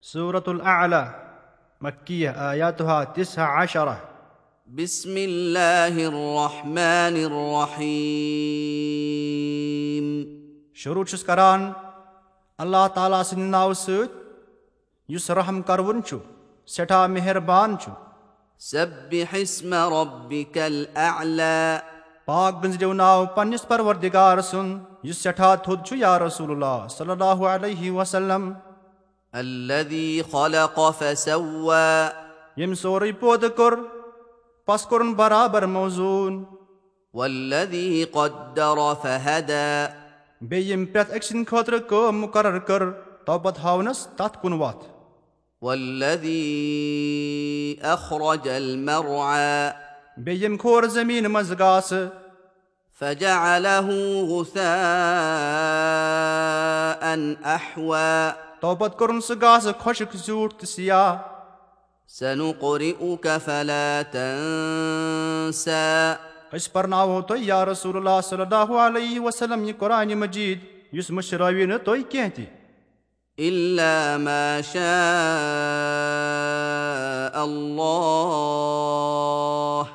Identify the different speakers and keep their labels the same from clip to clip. Speaker 1: سورة الأعلى مكية آياتها تسع عشرة
Speaker 2: بسم الله الرحمن الرحيم
Speaker 1: شروع چھس کران اللہ تعالیٰ سٕنٛدِ ناوٕ سۭتۍ یُس رحم کروُن چھُ سٮ۪ٹھاہ مہربان چھُ
Speaker 2: سبح اسم ربك الأعلى
Speaker 1: پاک گٔنٛزرِو ناو پنٛنِس پروردِگار سُنٛد یُس سٮ۪ٹھاہ تھوٚد چھُ یا رسول اللہ صلی اللہ علیہ وسلم
Speaker 2: الذي خلق فسوى
Speaker 1: ییٚمۍ سورُے پٲدٕ کوٚر پس کوٚرُن برابر موزوٗن
Speaker 2: والذي قدر فهدى
Speaker 1: بیٚیہِ ییٚمۍ پرٛٮ۪تھ أکۍ سٕنٛدِ خٲطرٕ کٲم مُقرر کٔر تو پتہٕ ہاونس تتھ کُن وتھ
Speaker 2: والذي أخرج المرعى
Speaker 1: بیٚیہِ ییٚمۍ کھور زٔمیٖنہِ منٛز گاسہٕ
Speaker 2: فجعله غثاء أحوى
Speaker 1: تو پتہٕ کوٚرُن سُہ گاسہٕ خۄشک زیوٗٹھ تہٕ سیاہ
Speaker 2: سنقرئك فلا تنسى
Speaker 1: أسۍ پرناوہو تۄہہِ یا رسول اللہ صلی اللہ علیہ وسلم یہِ قرآنہِ مجیٖد یُس مٔشرٲوِو نہٕ تُہۍ کینٛہہ تہِ
Speaker 2: إلا ما شاء الله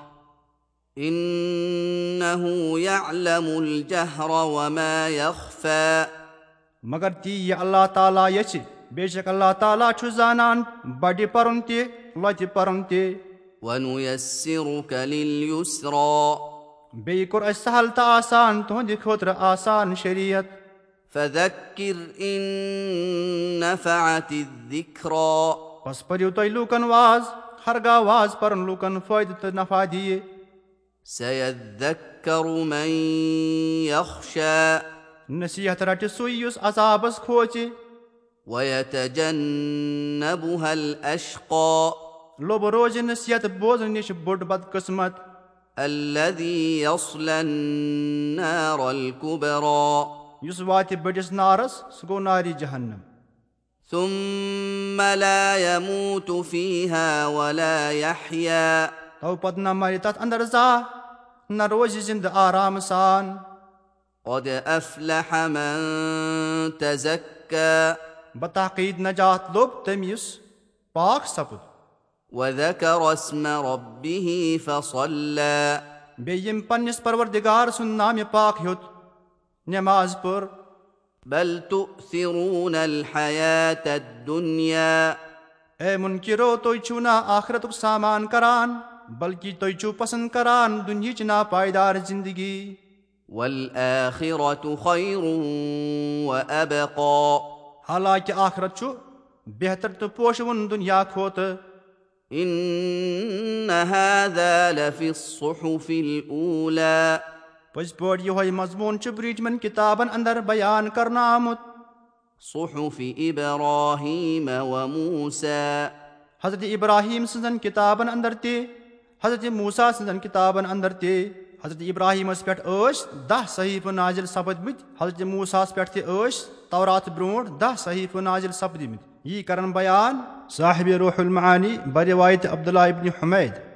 Speaker 2: إنه يعلم الجهر وما يخفى
Speaker 1: مگر تی یہِ اللہ تعالیٰ یژھِ بے شک اللہ تعالیٰ چھُ زانان بَڑِ پَرُن تہِ لۄتہِ پَرُن تہِ
Speaker 2: ونيسرك لليسرى
Speaker 1: بیٚیہِ کوٚر اَسہِ سہل تہٕ آسان تُہنٛدِ خٲطرٕ آسان شریعت
Speaker 2: فذكر إن نفعت الذكرى
Speaker 1: بس پٔرِو تُہۍ لوٗکن واز ہرگاہ واز پَرُن لوٗکن فٲیدٕ تہٕ نفع دِیہِ
Speaker 2: سيذكر من يخشى
Speaker 1: نصیحت رَٹہِ سُے یُس عذابس کھوژِ
Speaker 2: ويتجنبها الأشقى
Speaker 1: لوٚب روزِ نصیحت بوزنہٕ نِش بوٚڑ بد قٕسمت
Speaker 2: الذي يصلى النار الكبرى
Speaker 1: یُس واتہِ بٔڑِس نارس سُہ گوٚو نارِ جہنم
Speaker 2: ثم لا يموت فيها ولا يحيا
Speaker 1: تو پتہٕ نہ مرِ تتھ انٛدر زانٛہہ نہ روزِ زِندٕ آرام سان
Speaker 2: قد أفلح من تزكى
Speaker 1: بتحقیٖد نجات لوٚب تٔمۍ یُس پاک سپُد
Speaker 2: وذكر اسم ربه فصلى
Speaker 1: بیٚیہِ ییٚمۍ پننِس پروردِگار سُنٛد نامہِ پاک ہیوٚت نٮ۪ماز پٔر
Speaker 2: بل تؤثرون الحياة الدنيا
Speaker 1: اے مُنکِرو تُہۍ چھِو نہ آخرتُک سامان کران بلکہِ تُہۍ چھِو پسنٛد کران دُنہِچ ناپایدار زندگی
Speaker 2: والآخرة خير وأبقى
Speaker 1: حالانکہِ آخرت چھُ بہتر تہٕ پوشوُن دُنیا کھۄتہٕ
Speaker 2: إن هذا لفي الصحف الأولى
Speaker 1: پٔزۍ پٲٹھۍ یِہوے مضموٗن چھُ برٛوٗنٛٹھمٮ۪ن کِتابن انٛدر بیان کرنہٕ آمُت
Speaker 2: صحف إبراهيم وموسى
Speaker 1: حضرت ابراہیم سٕنٛزن کِتابن انٛدر تہِ حضرت موٗسا سٕنٛزن کِتابن انٛدر تہِ حضرت ابراہیٖمس پٮ۪ٹھ ٲسۍ دہ صحیٖفہٕ نازِل سپدمٕتۍ حضرت موٗساہس پٮ۪ٹھ تہِ ٲسۍ تورات برٛونٛٹھ دہ صحیٖفہٕ نازِل سپدمٕتۍ یی کرن بیان صاحب روح المعانی برِوایت عبداللہ ابنِ حمید